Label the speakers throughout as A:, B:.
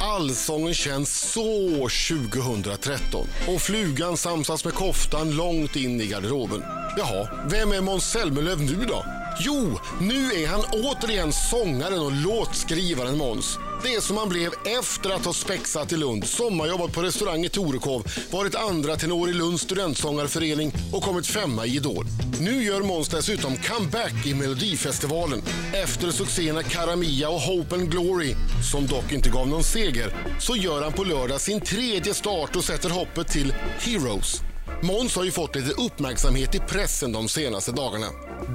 A: Allsången känns så 2013 och flugan samsas med koftan långt in i garderoben. Jaha, vem är Måns Zelmerlöw nu då? Jo, nu är han återigen sångaren och låtskrivaren Måns. Det som han blev efter att ha spexat i Lund, sommarjobbat på restaurang i Torekov, varit andra tenor i Lunds studentsångarförening och kommit femma i Idol. Nu gör Måns dessutom comeback i Melodifestivalen efter succéerna Karamia och Hope and Glory, som dock inte gav någon seger, så gör han på lördag sin tredje start och sätter hoppet till Heroes. Måns har ju fått lite uppmärksamhet i pressen de senaste dagarna.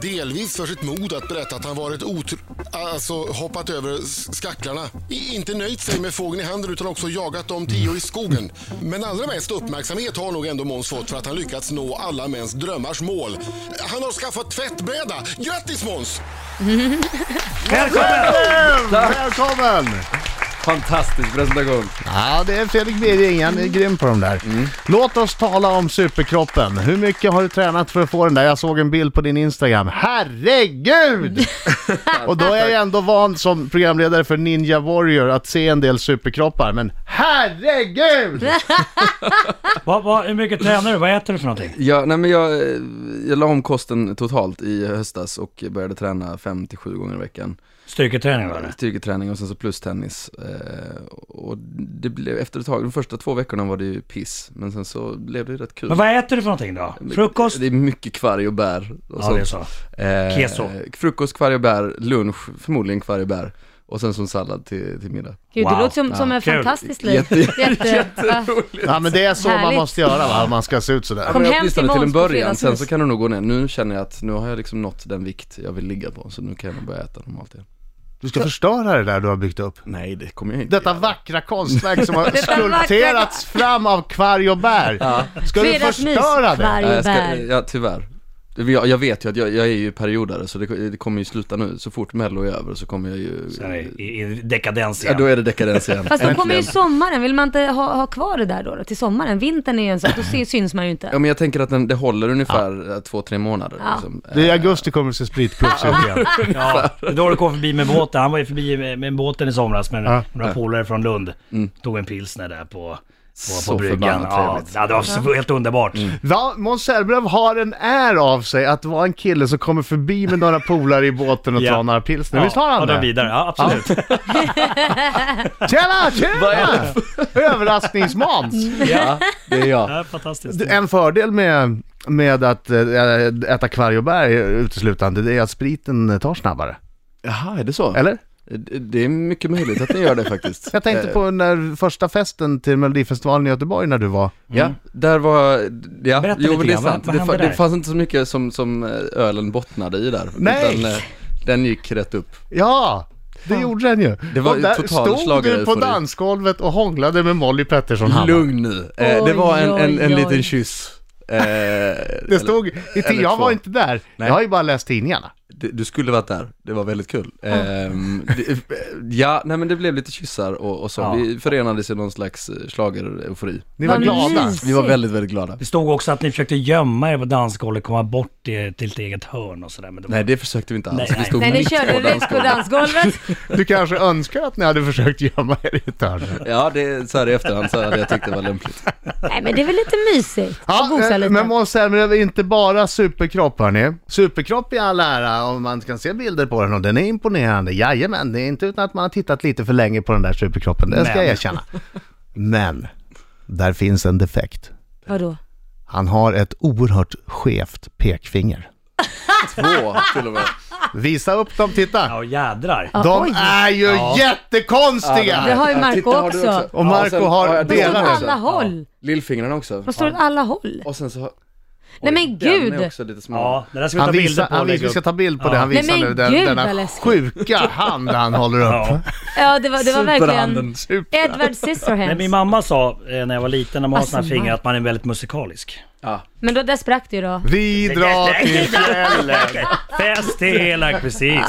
A: Delvis för sitt mod att berätta att han varit otro... Alltså hoppat över s- skacklarna. I, inte nöjt sig med fågeln i handen utan också jagat de tio i skogen. Men allra mest uppmärksamhet har nog ändå Måns fått för att han lyckats nå alla mäns drömmars mål. Han har skaffat tvättbräda! Grattis Måns!
B: Välkommen! Välkommen!
C: Fantastisk presentation.
B: Ja, det är Fredrik Birging, han är grym på de där. Låt oss tala om superkroppen. Hur mycket har du tränat för att få den där? Jag såg en bild på din Instagram. Herregud! Och då är jag ju ändå van som programledare för Ninja Warrior att se en del superkroppar, men herregud!
D: Vad, vad, hur mycket tränar du? Vad äter du för någonting?
C: Ja, nej men jag, eh, jag la om kosten totalt i höstas och började träna fem till sju gånger i veckan.
D: Styrketräning var det?
C: Styrketräning och sen så plus tennis. Eh, och det blev, efter ett tag, de första två veckorna var det ju piss, men sen så blev det ju rätt kul.
D: Men vad äter du för någonting då? Frukost?
C: Det är mycket kvarg och bär. Och
D: Ja, det är så.
C: Eh,
D: Keso.
C: Frukost, kvarg och bär, lunch, förmodligen kvarg och bär. Och sen som sallad till, till middag.
E: Gud,
D: Wow.
E: det låter som, som en
D: Kul.
E: fantastisk liv.
C: Jätte,
E: Jätte-
C: jätteroligt.
B: Ja men det är så man
E: Härligt.
B: måste göra va, om man ska se ut sådär.
E: Kom
C: Men jag-
E: hem till
C: åtminstone
E: Måns
C: en
E: på
C: början, sen
E: fredagsmys.
C: så kan det nog gå ner. Nu känner jag att nu har jag liksom nått den vikt jag vill ligga på, så nu kan jag nog börja äta normalt igen.
B: Du ska förstöra det där du har byggt upp.
C: Nej, det kommer jag inte
B: Detta vackra konstverk som har
E: Detta
B: skulpterats fram av kvarg och bär. Ska du
E: Fredagsmys,
B: förstöra det?
E: kvarg och
C: Nej, jag ska,
E: bär.
C: ja, tyvärr. Jag, jag vet ju att jag, jag är ju periodare, så det, det kommer ju sluta nu. Så fort mello är över så kommer jag ju...
D: Sen är- I, i dekadens
C: Ja,
D: igen.
C: då är det dekadens igen.
E: Fast då kommer ju
C: Äntligen.
E: sommaren, vill man inte ha, ha kvar det där då, då till sommaren? Vintern är ju en sån, då ser, syns man ju inte.
C: Ja, men jag tänker att den, det håller ungefär eh, två, tre månader.
E: Ja.
C: Liksom.
B: Det är i augusti kommer det se spritpuffs ut igen.
D: Ja, det är då du kom förbi med båten. Han var ju förbi med, med båten i somras med
B: Ja. Mm.
D: några polare från Lund. Tog en pilsner där på, på, på
C: Så
D: bryggan.
C: förbannat
D: Ja,
C: trevligt.
D: ja, det var så, helt underbart.
B: Va? Måns Zelmerlöw har en är av sig att vara en kille som kommer förbi med några polare i båten och
D: Ja.
B: tar några pilsner. Visst har
D: ja,
B: han
D: och då
B: det?
D: vidare. Ja, absolut.
B: Tjena, tjena! Överraskningsmans!
D: Ja.
C: Det är jag.
D: Ja, fantastiskt.
B: Du, En fördel med, med att eh, äta kvarg och bär uteslutande, det är att spriten tar snabbare.
C: Jaha, är det så?
B: Eller?
C: Det- Det är mycket möjligt att den gör det faktiskt.
B: Jag tänkte
C: Eh,
B: på när första festen till Melodifestivalen i Göteborg när du var
C: Ja, Mm. där var, ja,
D: Berätta
C: jo
D: lite
C: men det är
D: grann, vad-
C: sant.
D: vad
C: Det,
D: hände
C: fa- det
D: där?
C: fanns inte så mycket som, som eh, ölen bottnade i där.
B: Nej!
C: Utan, eh, den gick rätt upp.
B: Ja, det gjorde den ju.
C: Det var
B: och där
C: total
B: stod
D: eh,
B: du på
C: schlagereufori.
B: dansgolvet och hånglade med Molly Pettersson Hammar.
C: Lugn nu. Eh, det var en, en, en
E: Oj, oj,
C: liten
E: oj.
C: kyss. Eh,
B: Det
C: eller-
B: stod, i
C: eller
B: tid, jag
C: två.
B: var inte där,
C: Nej.
B: jag har ju bara läst tidningarna.
C: Du, du skulle varit där, det var väldigt kul. Ehm, det, ja, nej men det blev lite kyssar och, och så.
D: Ja.
C: Vi förenades i någon slags eh, schlagereufori.
B: Ni var
E: Vad
B: glada.
E: mysigt.
C: Vi var väldigt, väldigt glada.
D: Det stod också att ni försökte gömma er på dansgolvet, komma bort i, till ett eget hörn och sådär. Men det var...
C: Nej, det försökte vi inte alls.
D: Nej,
C: vi
D: nej.
C: stod
E: Nej, ni
C: mitt
E: körde
C: på
E: rätt på
C: dansgolvet.
E: dansgolvet.
B: Du kanske önskar att ni hade försökt gömma er i ett hörn.
C: Ja, det är så här i efterhand så hade jag tyckt det var lämpligt.
E: Nej, men det är väl lite mysigt? att
B: Ja,
E: gosa
B: eh,
E: lite.
B: men Måns Zelmerlöw är inte bara superkropp hörni. Superkropp i all ära, om man kan se bilder på den och den är imponerande. Jajamän, det är inte utan att man har tittat lite för länge på den där superkroppen, det ska
D: Men.
B: jag erkänna. Men, där finns en defekt.
E: Vadå?
B: Han har ett oerhört skevt pekfinger.
C: Två till och med.
B: Visa upp dem, titta!
D: Ja, jädrar.
E: Ja,
B: De
E: oj.
B: är ju
E: Det
B: jättekonstiga!
E: har ju
C: Ja,
E: Marco
C: titta, har du
E: också.
B: Och Marco
C: Ja, sen-
B: har
C: ja,
E: De
C: det
E: står åt
B: delar
C: också.
E: alla håll.
C: Lillfingrarna också.
E: De står åt alla håll.
C: Och sen så har...
E: Nej, men gud.
C: Den är också lite smal.
D: Ja, det där ska vi ta
B: Han
D: bilder
B: visar,
D: på och
B: han visar,
D: lägga
B: vi ska
D: upp.
B: ta bild på det, han
E: Nej,
B: visar
E: men
B: nu den,
E: gud, vad
B: denna
E: läskigt.
B: sjuka hand han håller upp.
D: Ja.
E: Ja, det var, det var verkligen...
C: Superhanden.
E: Edward Scissorhands.
D: Men min mamma sa eh, när jag var liten när man har
E: Alltså,
D: såna här fingrar
E: man-
D: att man är väldigt musikalisk.
C: Ja.
E: Men då, där sprack det ju då.
B: Vi drar till fjällen.
D: Fest i hela, precis.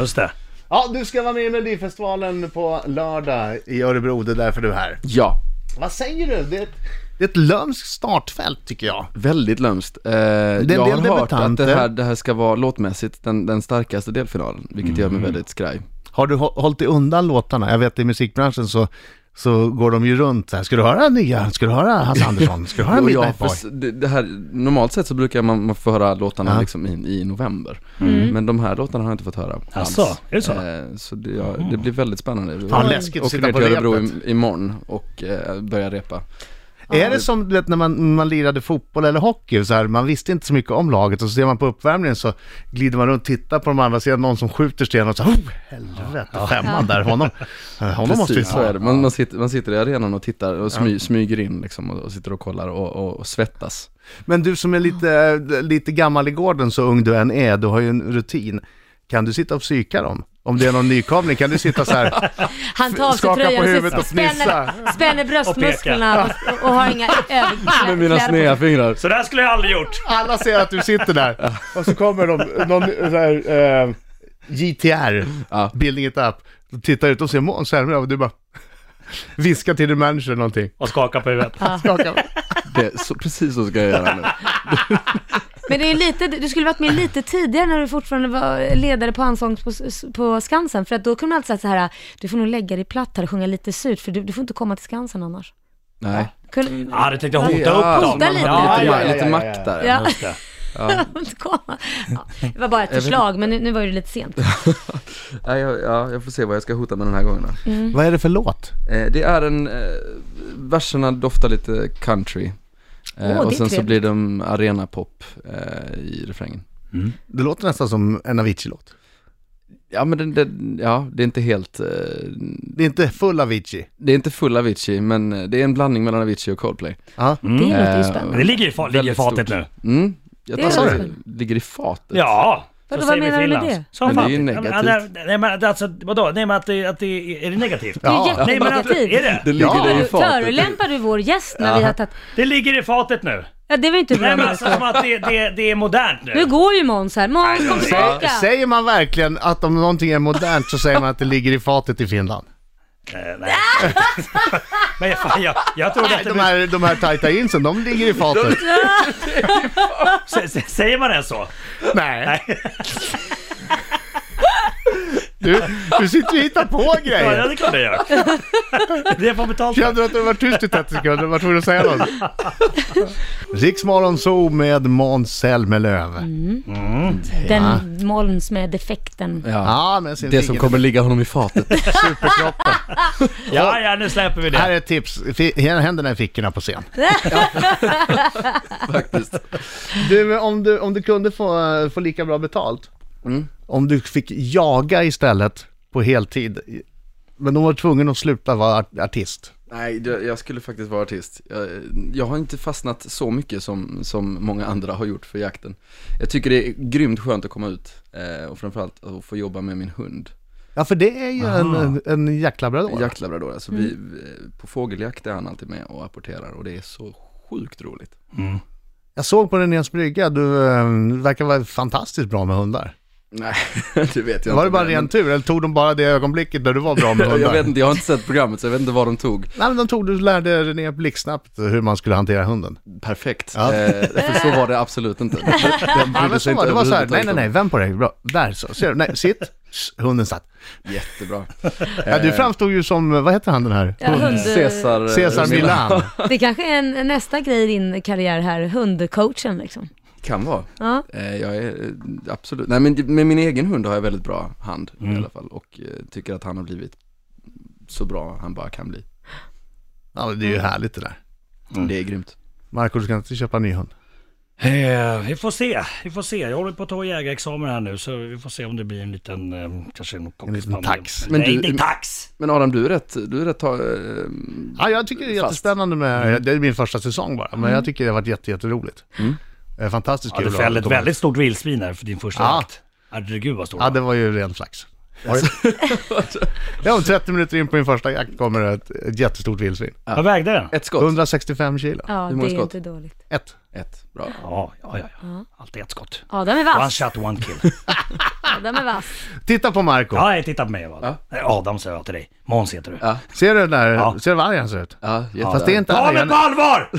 D: Just det.
B: Ja, du ska vara med i Melodifestivalen på lördag i Örebro, det är därför du är här.
C: ja.
B: Vad säger du? Det är ett, det är ett lömskt startfält tycker jag.
C: Väldigt lömskt. Eh,
B: del
C: jag har hört att
B: debutanter. Mm.
C: det här, det här ska vara låtmässigt den, den starkaste delfinalen, vilket gör mig väldigt skraj.
B: Har du hå- hållit dig undan låtarna? Jag vet i musikbranschen så, så går de ju runt så här. Ska du höra nya? Ska du höra Hasse Andersson? Ska du höra
C: Jo,
B: Midnight
C: ja,
B: Boy?
C: för s- det, det här, normalt sett så brukar man, man få höra låtarna
B: Ja.
C: liksom i, i november. Men de här låtarna har jag inte fått höra
D: Mm. Jaså,
C: alls.
D: är det så? Mm.
C: Eh, så det, ja, det blir väldigt spännande.
B: Fan, läskigt att
C: åker
B: sitta
C: ner
B: på
C: till Örebro
B: repet.
C: i, imorgon och eh, börjar repa.
B: Är det som du vet, när man, man lirade fotboll eller hockey, så här, man visste inte så mycket om laget och så ser man på uppvärmningen så glider man runt och tittar på de andra, ser någon som skjuter sten och så här, oh, helvete, femman där, honom, honom måste vi
C: Precis, så är
B: ta.
C: det. Man, man, sitter, man sitter i arenan och tittar och smy, smyger in liksom och, och sitter och kollar och, och, och svettas.
B: Men du som är lite, lite gammal i gården, så ung du än är, du har ju en rutin. Kan du sitta och psyka dem? Om det är någon nykomling, kan du sitta så här?
E: Han tar av sig
B: Skaka på
E: tröjan
B: huvudet och fnissa.
E: spänner, spänner bröstmusklerna och, och, har inga överkläder.
C: Med mina sneda fingrar.
D: Så där skulle jag aldrig gjort.
B: Alla ser att du sitter där och så kommer de, någon så här, eh, JTR,
C: Ja.
B: Building It Up, och tittar ut och ser Måns Zelmerlöw och du bara viskar till din manager någonting.
D: Och skaka på huvudet.
B: Skaka.
C: Det, så, precis så ska jag göra nu.
E: Men det är lite, du skulle varit med lite tidigare när du fortfarande var ledare på Allsång på, på Skansen. För att då kunde man alltid säga så här, du får nog lägga dig platt här och sjunga lite surt, för du, du får inte komma till Skansen annars.
C: Nej.
E: Kunde,
D: Jag hade tänkt att hota upp
C: Ja,
D: dem.
E: Hota
C: man
E: lite.
C: hade
B: Ja, ja,
C: lite,
B: ja,
C: lite
B: ja,
C: makt
B: ja.
C: där.
E: Ja.
D: Just det.
E: inte komma. Ja, det var bara ett förslag, men nu, nu var det lite sent.
D: Mm.
C: Nej, jag, ja, jag får se vad jag ska hota med den här gången. då.
B: Vad är det för låt?
C: Eh, det är en, eh, verserna doftar lite country.
E: Åh, det
C: Eh,
E: är
C: och sen så
E: trevligt.
C: blir de arenapop eh, i refrängen.
B: Det låter nästan som en Avicii-låt.
C: Ja men den, den, ja, det är inte helt, eh,
B: Det är inte full Avicii.
C: det är inte full Avicii men eh, det är en blandning mellan Avicii och Coldplay.
B: Ja.
E: Det låter ju
C: Eh,
E: spännande.
D: Det ligger i, fa- ligger i
C: Väldigt
D: fatet
C: stort.
D: nu.
C: Mm, jag
E: Det
C: tror
E: är
C: det
E: det.
C: ligger i fatet.
D: Ja. så
E: Vadå,
D: säger vi
E: vad
D: i
E: menar du med
D: Finland.
E: det?
D: Som
C: Men det är
D: fan.
C: ju
D: Ja, men,
C: negativt.
D: ja, Nej men alltså, vadå? Nej men att det, att det är det negativt?
E: Det är
B: Ja.
D: Nej men att, är
E: jättenegativt.
D: det?
C: Det ligger
B: Ja.
C: i
E: Föro-
C: fatet.
E: Förolämpar du vår gäst när vi har tagit...
D: Det ligger i fatet nu.
E: Ja, det var ju inte bra.
D: Nej men
E: Marco.
D: alltså som att det, det, det är modernt nu.
E: Nu går ju Måns här. Måns, kom
D: Ja.
E: tillbaka!
B: Säger man verkligen att om någonting är modernt så säger man att det ligger i fatet i Finland?
D: Eh, nej. men fan, jag, jag trodde att det
B: De här, de här tajta jeansen, de ligger i fatet.
D: S- s- Säger man ens så?
B: Nej. Du, du sitter och hittar på
D: Ja, ja,
B: grejer.
D: det är klart jag gör. Det får betalt för.
B: Kände du att du var tyst i 30 sekunder? Var tvungen att säga något? Riksmorgon Zoo med Måns Zelmerlöw.
E: Den Måns med defekten.
C: Ja.
B: Ja, men sin
C: Det som
B: egen-
C: kommer ligga honom i fatet.
B: superkroppen.
D: Ja, ja, nu släpper vi
B: Här
D: det.
B: är ett tips. Fi- Händerna i fickorna på scen.
C: faktiskt.
B: Du, om du, om du kunde få, få lika bra betalt,
C: Mm.
B: om du fick jaga istället på heltid, men de var tvungen att sluta vara art- artist.
C: Nej, det, jag skulle faktiskt vara artist. Jag, jag har inte fastnat så mycket som, som många andra har gjort för jakten. Jag tycker det är grymt skönt att komma ut eh, och framförallt att få jobba med min hund.
B: Ja, för det är ju en, en, en
C: En
B: jacklabrador.
C: jaktlabrador, alltså vi,
B: Mm.
C: vi- på fågeljakt är han alltid med och apporterar och det är så sjukt roligt.
B: Jag såg på Renés brygga, du eh, verkar vara fantastiskt bra med hundar.
C: Nej, det vet jag
B: Var det
C: inte.
B: bara
C: men-
B: ren tur, eller tog de bara det ögonblicket där du var bra med hundar?
C: Jag vet inte, jag har inte sett programmet så jag vet inte vad de tog.
B: Nej, men de tog, du lärde René blixtsnabbt hur man skulle hantera hunden.
C: Perfekt,
B: Ja.
C: eh, för så var det absolut inte. Den
B: Ja, men
C: brydde
B: så
C: sig
B: var
C: inte
B: det, det var så här,
C: överhuvudtaget
B: nej, nej,
C: om-
B: nej, vänd på dig, bra, där så, ser du, nej, sitt, Sh, hunden satt.
C: Jättebra.
B: Ja, du framstod ju som, vad heter han den här?
E: Ja, hund,
C: Cesar, eh,
B: Cesar Milan.
E: Det kanske är en, en nästa grej i din karriär här, hundcoachen liksom.
C: Kan vara.
E: Ja.
C: Eh, Jag är eh, absolut, nej men med min egen hund har jag väldigt bra hand i alla fall och eh, tycker att han har blivit så bra han bara kan bli.
B: Ja, men det är ju härligt det där.
C: Det är grymt.
B: Marco, du ska inte köpa en ny hund?
D: Eh, vi får se, vi får se. Jag håller på att ta jägarexamen här nu så vi får se om det blir en liten, eh, kanske en,
B: En liten tax.
C: Men
D: Men Nej,
C: du-
D: inte tax!
C: Men Adam, du är rätt, du är rätt ta, eh,
B: Ja, jag tycker det är
C: Fast. Mm.
B: jättespännande med, det är min första säsong bara, men jag tycker det har varit jätte- jätteroligt. Eh, Fantastiskt
D: Ja,
B: kul.
D: du
B: att
D: fällde ett
B: komma
D: väldigt stort vildsvin här för din första
B: Ja.
D: jakt. Herregud vad stor
B: Ja,
D: den
B: det var ju ren flax. ja, om 30 minuter in på min första jakt kommer ett, ett jättestort vildsvin.
D: var. Vad vägde den?
C: ett skott.
B: 165 kilo.
E: Ja,
C: Hur
E: det
C: många
E: är ju
C: skott?
E: inte dåligt.
B: Ett.
C: Ett, bra.
D: Ja, ja, ja. ja. Alltid ett skott.
E: Adam är
D: One
E: vass.
D: shot, one kill.
E: Adam är vass.
B: Titta på Marco.
D: Ja, jag tittar på mig. Adam. Nej, Adam säger jag till dig. Måns heter du.
C: Ja.
B: Ser du den där,
D: Ja.
B: ser du vad arg han ser ut?
C: Ja, jätte-
B: Fast det är inte
D: Ta
B: arg,
D: mig
B: han,
D: på allvar!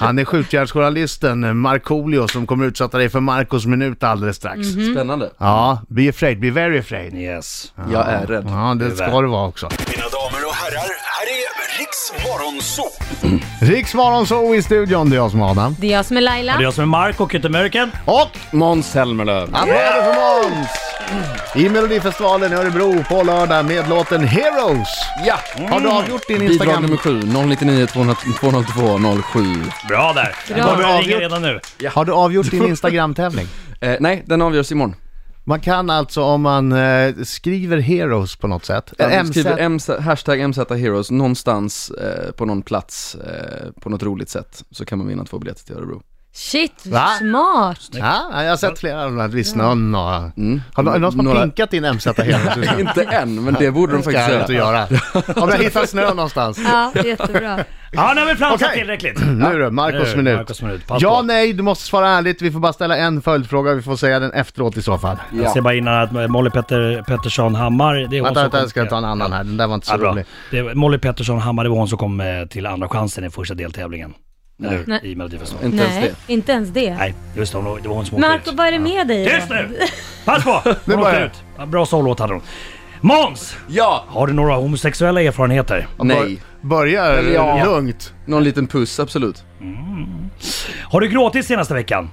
B: Han är skjutjärnsjournalisten Markoolio som kommer utsätta dig för Marcos minut alldeles strax.
C: Spännande.
B: Ja, be afraid, be very afraid.
D: Yes.
C: Jag är rädd.
B: Ja, det ska det vara också.
F: Mina damer och herrar, här är Riks Morgonzoo!
B: Riks Morgonzoo i studion, det är jag som är Adam.
E: Det är jag som är Laila.
D: Och det är jag som är Mark och inte Mörken.
B: Och
C: Måns Zelmerlöw.
B: applåder för Måns! I Melodifestivalen i Örebro på lördag med låten Heroes.
C: Ja!
B: Har du avgjort din
C: Mm. Bidrag nummer
B: Instagram?
C: 7, 099 202 07.
D: Bra där.
E: Bra.
D: Bra. Börjar ringa
B: Avgjort.
D: redan nu.
B: Har du avgjort din Instagram-tävling?
C: Eh, nej, den avgörs imorgon.
B: Man kan alltså om man eh, skriver Heroes på något sätt,
C: Ja,
B: eh,
C: du skriver
B: MZ,
C: MZ, hashtag MZ Heroes någonstans eh, på någon plats eh, på något roligt sätt så kan man vinna två biljetter till Örebro.
E: Shit,
B: Va?
E: smart.
B: ja, jag har sett flera av de här, visst någon och... Har någon, någon som har
C: Mm. Några-
B: pinkat din MZ Heroes?
C: Inte än, men det borde de
B: ska
C: faktiskt
B: jag inte
C: göra.
B: göra. Om jag hittar snö någonstans.
E: Ja, jättebra.
D: Ja, nu har vi flamsat
B: Okej.
D: tillräckligt.
B: Nu du, Marcos
C: Eh,
D: Nu,
B: minut.
D: Marcos minut. Pass
B: Ja,
D: på.
B: nej, du måste svara ärligt. Vi får bara ställa en följdfråga, vi får säga den efteråt i så fall.
D: Jag ser
C: Ja.
D: bara innan att Molly Petter, Pettersson Hammar, det är hon
B: Vänta,
D: som
B: vänta,
D: kom
B: jag ska
D: till-
B: ta en annan här. Den där var inte så
D: Ja, bra.
B: rolig.
D: Det är Molly Pettersson Hammar, det var hon som kom eh, till andra chansen i första deltävlingen. Eller hur?
E: Nej.
D: I Melodifestivalen.
C: Inte ens
E: Nej,
C: det.
E: inte ens det.
D: Nej, just det, hon- det var hon som åkte
E: Marco,
D: ut.
E: vad är det med dig
D: Tyst
E: då?
D: nu! Pass på!
B: Nu
D: Hon åkte
B: börjar.
D: ut. Ja, Bra sollåt hade hon. Måns!
C: Ja!
D: Har du några homosexuella erfarenheter?
C: Nej.
B: Börjar
C: Ja.
B: lugnt.
C: Någon liten puss, absolut.
D: Har du gråtit senaste veckan?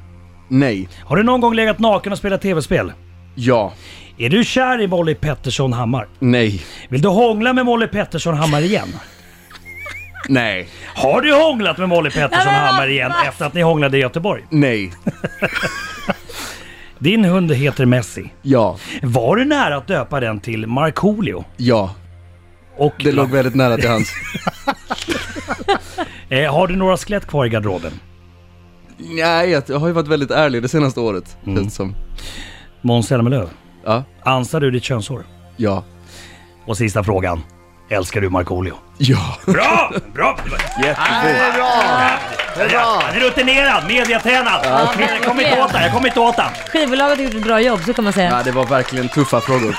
C: Nej.
D: Har du någon gång legat naken och spelat tv-spel?
C: Ja.
D: Är du kär i Molly Pettersson Hammar?
C: Nej.
D: Vill du hångla med Molly Pettersson Hammar igen?
C: Nej.
D: Har du hånglat med Molly Pettersson
E: Nej, men
D: Hammar
E: vad-
D: igen
E: vad?
D: efter att ni hånglade i Göteborg?
C: Nej.
D: Din hund heter Messi.
C: Ja.
D: Var du nära att döpa den till Markoolio?
C: Ja.
D: Och
C: Det låg väldigt nära till hans.
D: eh, har du några skelett kvar i garderoben?
C: Nej, jag har ju varit väldigt ärlig det senaste året, känns det som.
D: Måns Zelmerlöw,
C: Ja.
D: ansar du ditt könshår?
C: Ja.
D: Och sista frågan, älskar du Markoolio?
C: Ja.
D: Bra! Bra! Det var-
B: Det är bra! Det är bra!
D: Han är rutinerad, mediatränad. Jag kommer inte åt han, jag kommer inte åt han.
E: Skivbolaget har gjort ett bra jobb, så kan man säga.
C: Ja, det var verkligen tuffa frågor.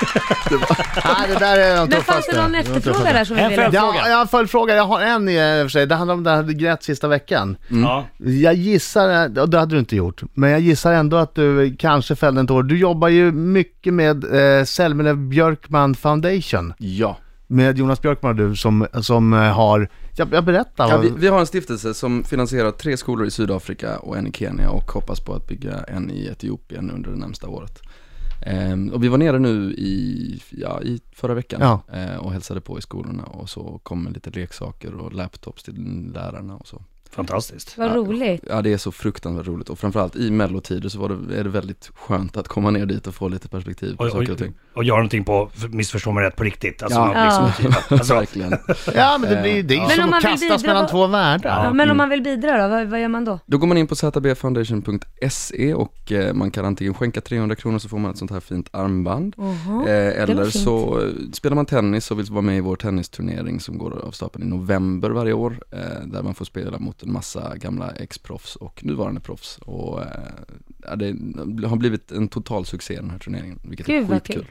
C: Det var...
B: Nej, det där är de
E: Men fanns
B: tuffaste.
E: det någon
B: De
E: efterfråga
B: tuffaste.
E: där som vi
D: En
E: ville?
D: följd-
B: Ja, jag har en följdfråga. Jag har en i och för sig. Det handlar om det här du grät sista veckan.
C: Mm.
D: Ja.
B: Jag gissar, och det hade du inte gjort, en men jag gissar ändå att du kanske fällde en tår. Du jobbar ju mycket med eh, Selmenlöv Björkman Foundation.
C: Ja.
B: Med Jonas Björkman och du som, som eh, har, jag, jag berättar.
C: Ja,
B: vad-
C: vi, vi har en stiftelse som finansierar tre skolor i Sydafrika och en i Kenya och hoppas på att bygga en i Etiopien under det närmsta året. Ehm, och vi var nere nu i, ja, i förra veckan
B: Ja.
C: eh, och hälsade på i skolorna och så kom med lite leksaker och laptops till lärarna och så.
D: Fantastiskt.
E: Vad roligt.
C: Ja det är så fruktansvärt roligt och framförallt i mellotider så var det, är det väldigt skönt att komma ner dit och få lite perspektiv på
D: Och, och,
C: saker och ting.
D: och göra någonting på, för- missförstå mig rätt, på riktigt. Alltså,
C: Ja.
D: man liksom, alltså,
C: Verkligen.
B: Ja men det blir ju det är
E: Men om
B: som
E: man
B: att
E: vill
B: kastas
E: bidra-
B: mellan två världar.
E: Ja, men
C: Mm.
E: om man vill bidra då, vad, vad gör man då?
C: Då går man in på zbfoundation.se och eh, man kan antingen skänka 300 kronor så får man ett sånt här fint armband.
E: Oha.
C: Eh,
E: det var
C: eller
E: fint.
C: så eh, spelar man tennis och vill vara med i vår tennisturnering som går av stapeln i november varje år. Eh, där man får spela mot en massa gamla ex-proffs och nuvarande proffs. Och, eh, ja, det har blivit en total succé den här turneringen, vilket
E: Gud,
C: är
E: vad
C: skitkul.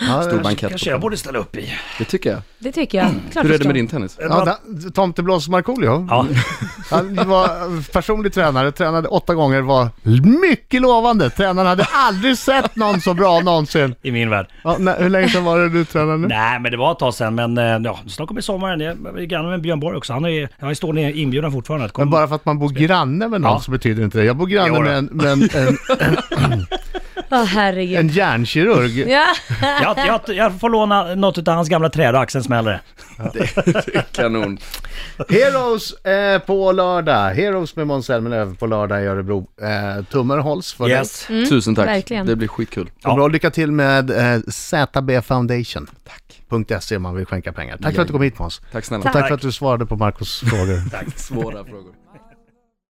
B: Ja,
C: Stor
B: ja,
C: bankett.
D: kanske jag borde ställa upp i.
C: Det tycker jag.
E: Det tycker jag. Klart
C: Hur är
E: jag
C: det
E: ska.
C: med din tennis?
B: där- Tomteblås Markoolio,
D: Ja.
B: han var personlig tränare, tränade åtta gånger, var mycket lovande. Tränaren hade aldrig sett någon så bra någonsin.
D: I min värld.
B: Ja, nej, hur länge sedan var det du tränade nu?
D: Nej, men det var ett tag sedan. Men eh, ja, snart kommer sommaren. Jag är granne med Björn Borg också. Han är, han står ner- inbjuden fortfarande. Att komma.
B: Men bara för att man bor granne med någon
D: Ja.
B: så betyder inte det. Jag bor granne
D: Jo då.
B: med en, med en, en,
E: Åh herregud.
B: en hjärnkirurg.
E: Ja.
D: jag, jag, jag får låna något av hans gamla trärack, sen smäller det.
C: Kanon.
B: Heroes eh, på lördag. Heroes med Måns Zelmerlöw på lördag i Örebro. Eh, tummar hålls för yes.
D: Yes.
C: Tusen tack.
E: Mm, verkligen.
C: Det blir skitkul.
B: det. Och Bra, lycka till med eh, ZB Foundation. .se om man vill skänka pengar. Tack för att du kom hit Måns.
C: Tack snälla.
B: Och tack för att du svarade på Marcos frågor.
C: Svåra frågor.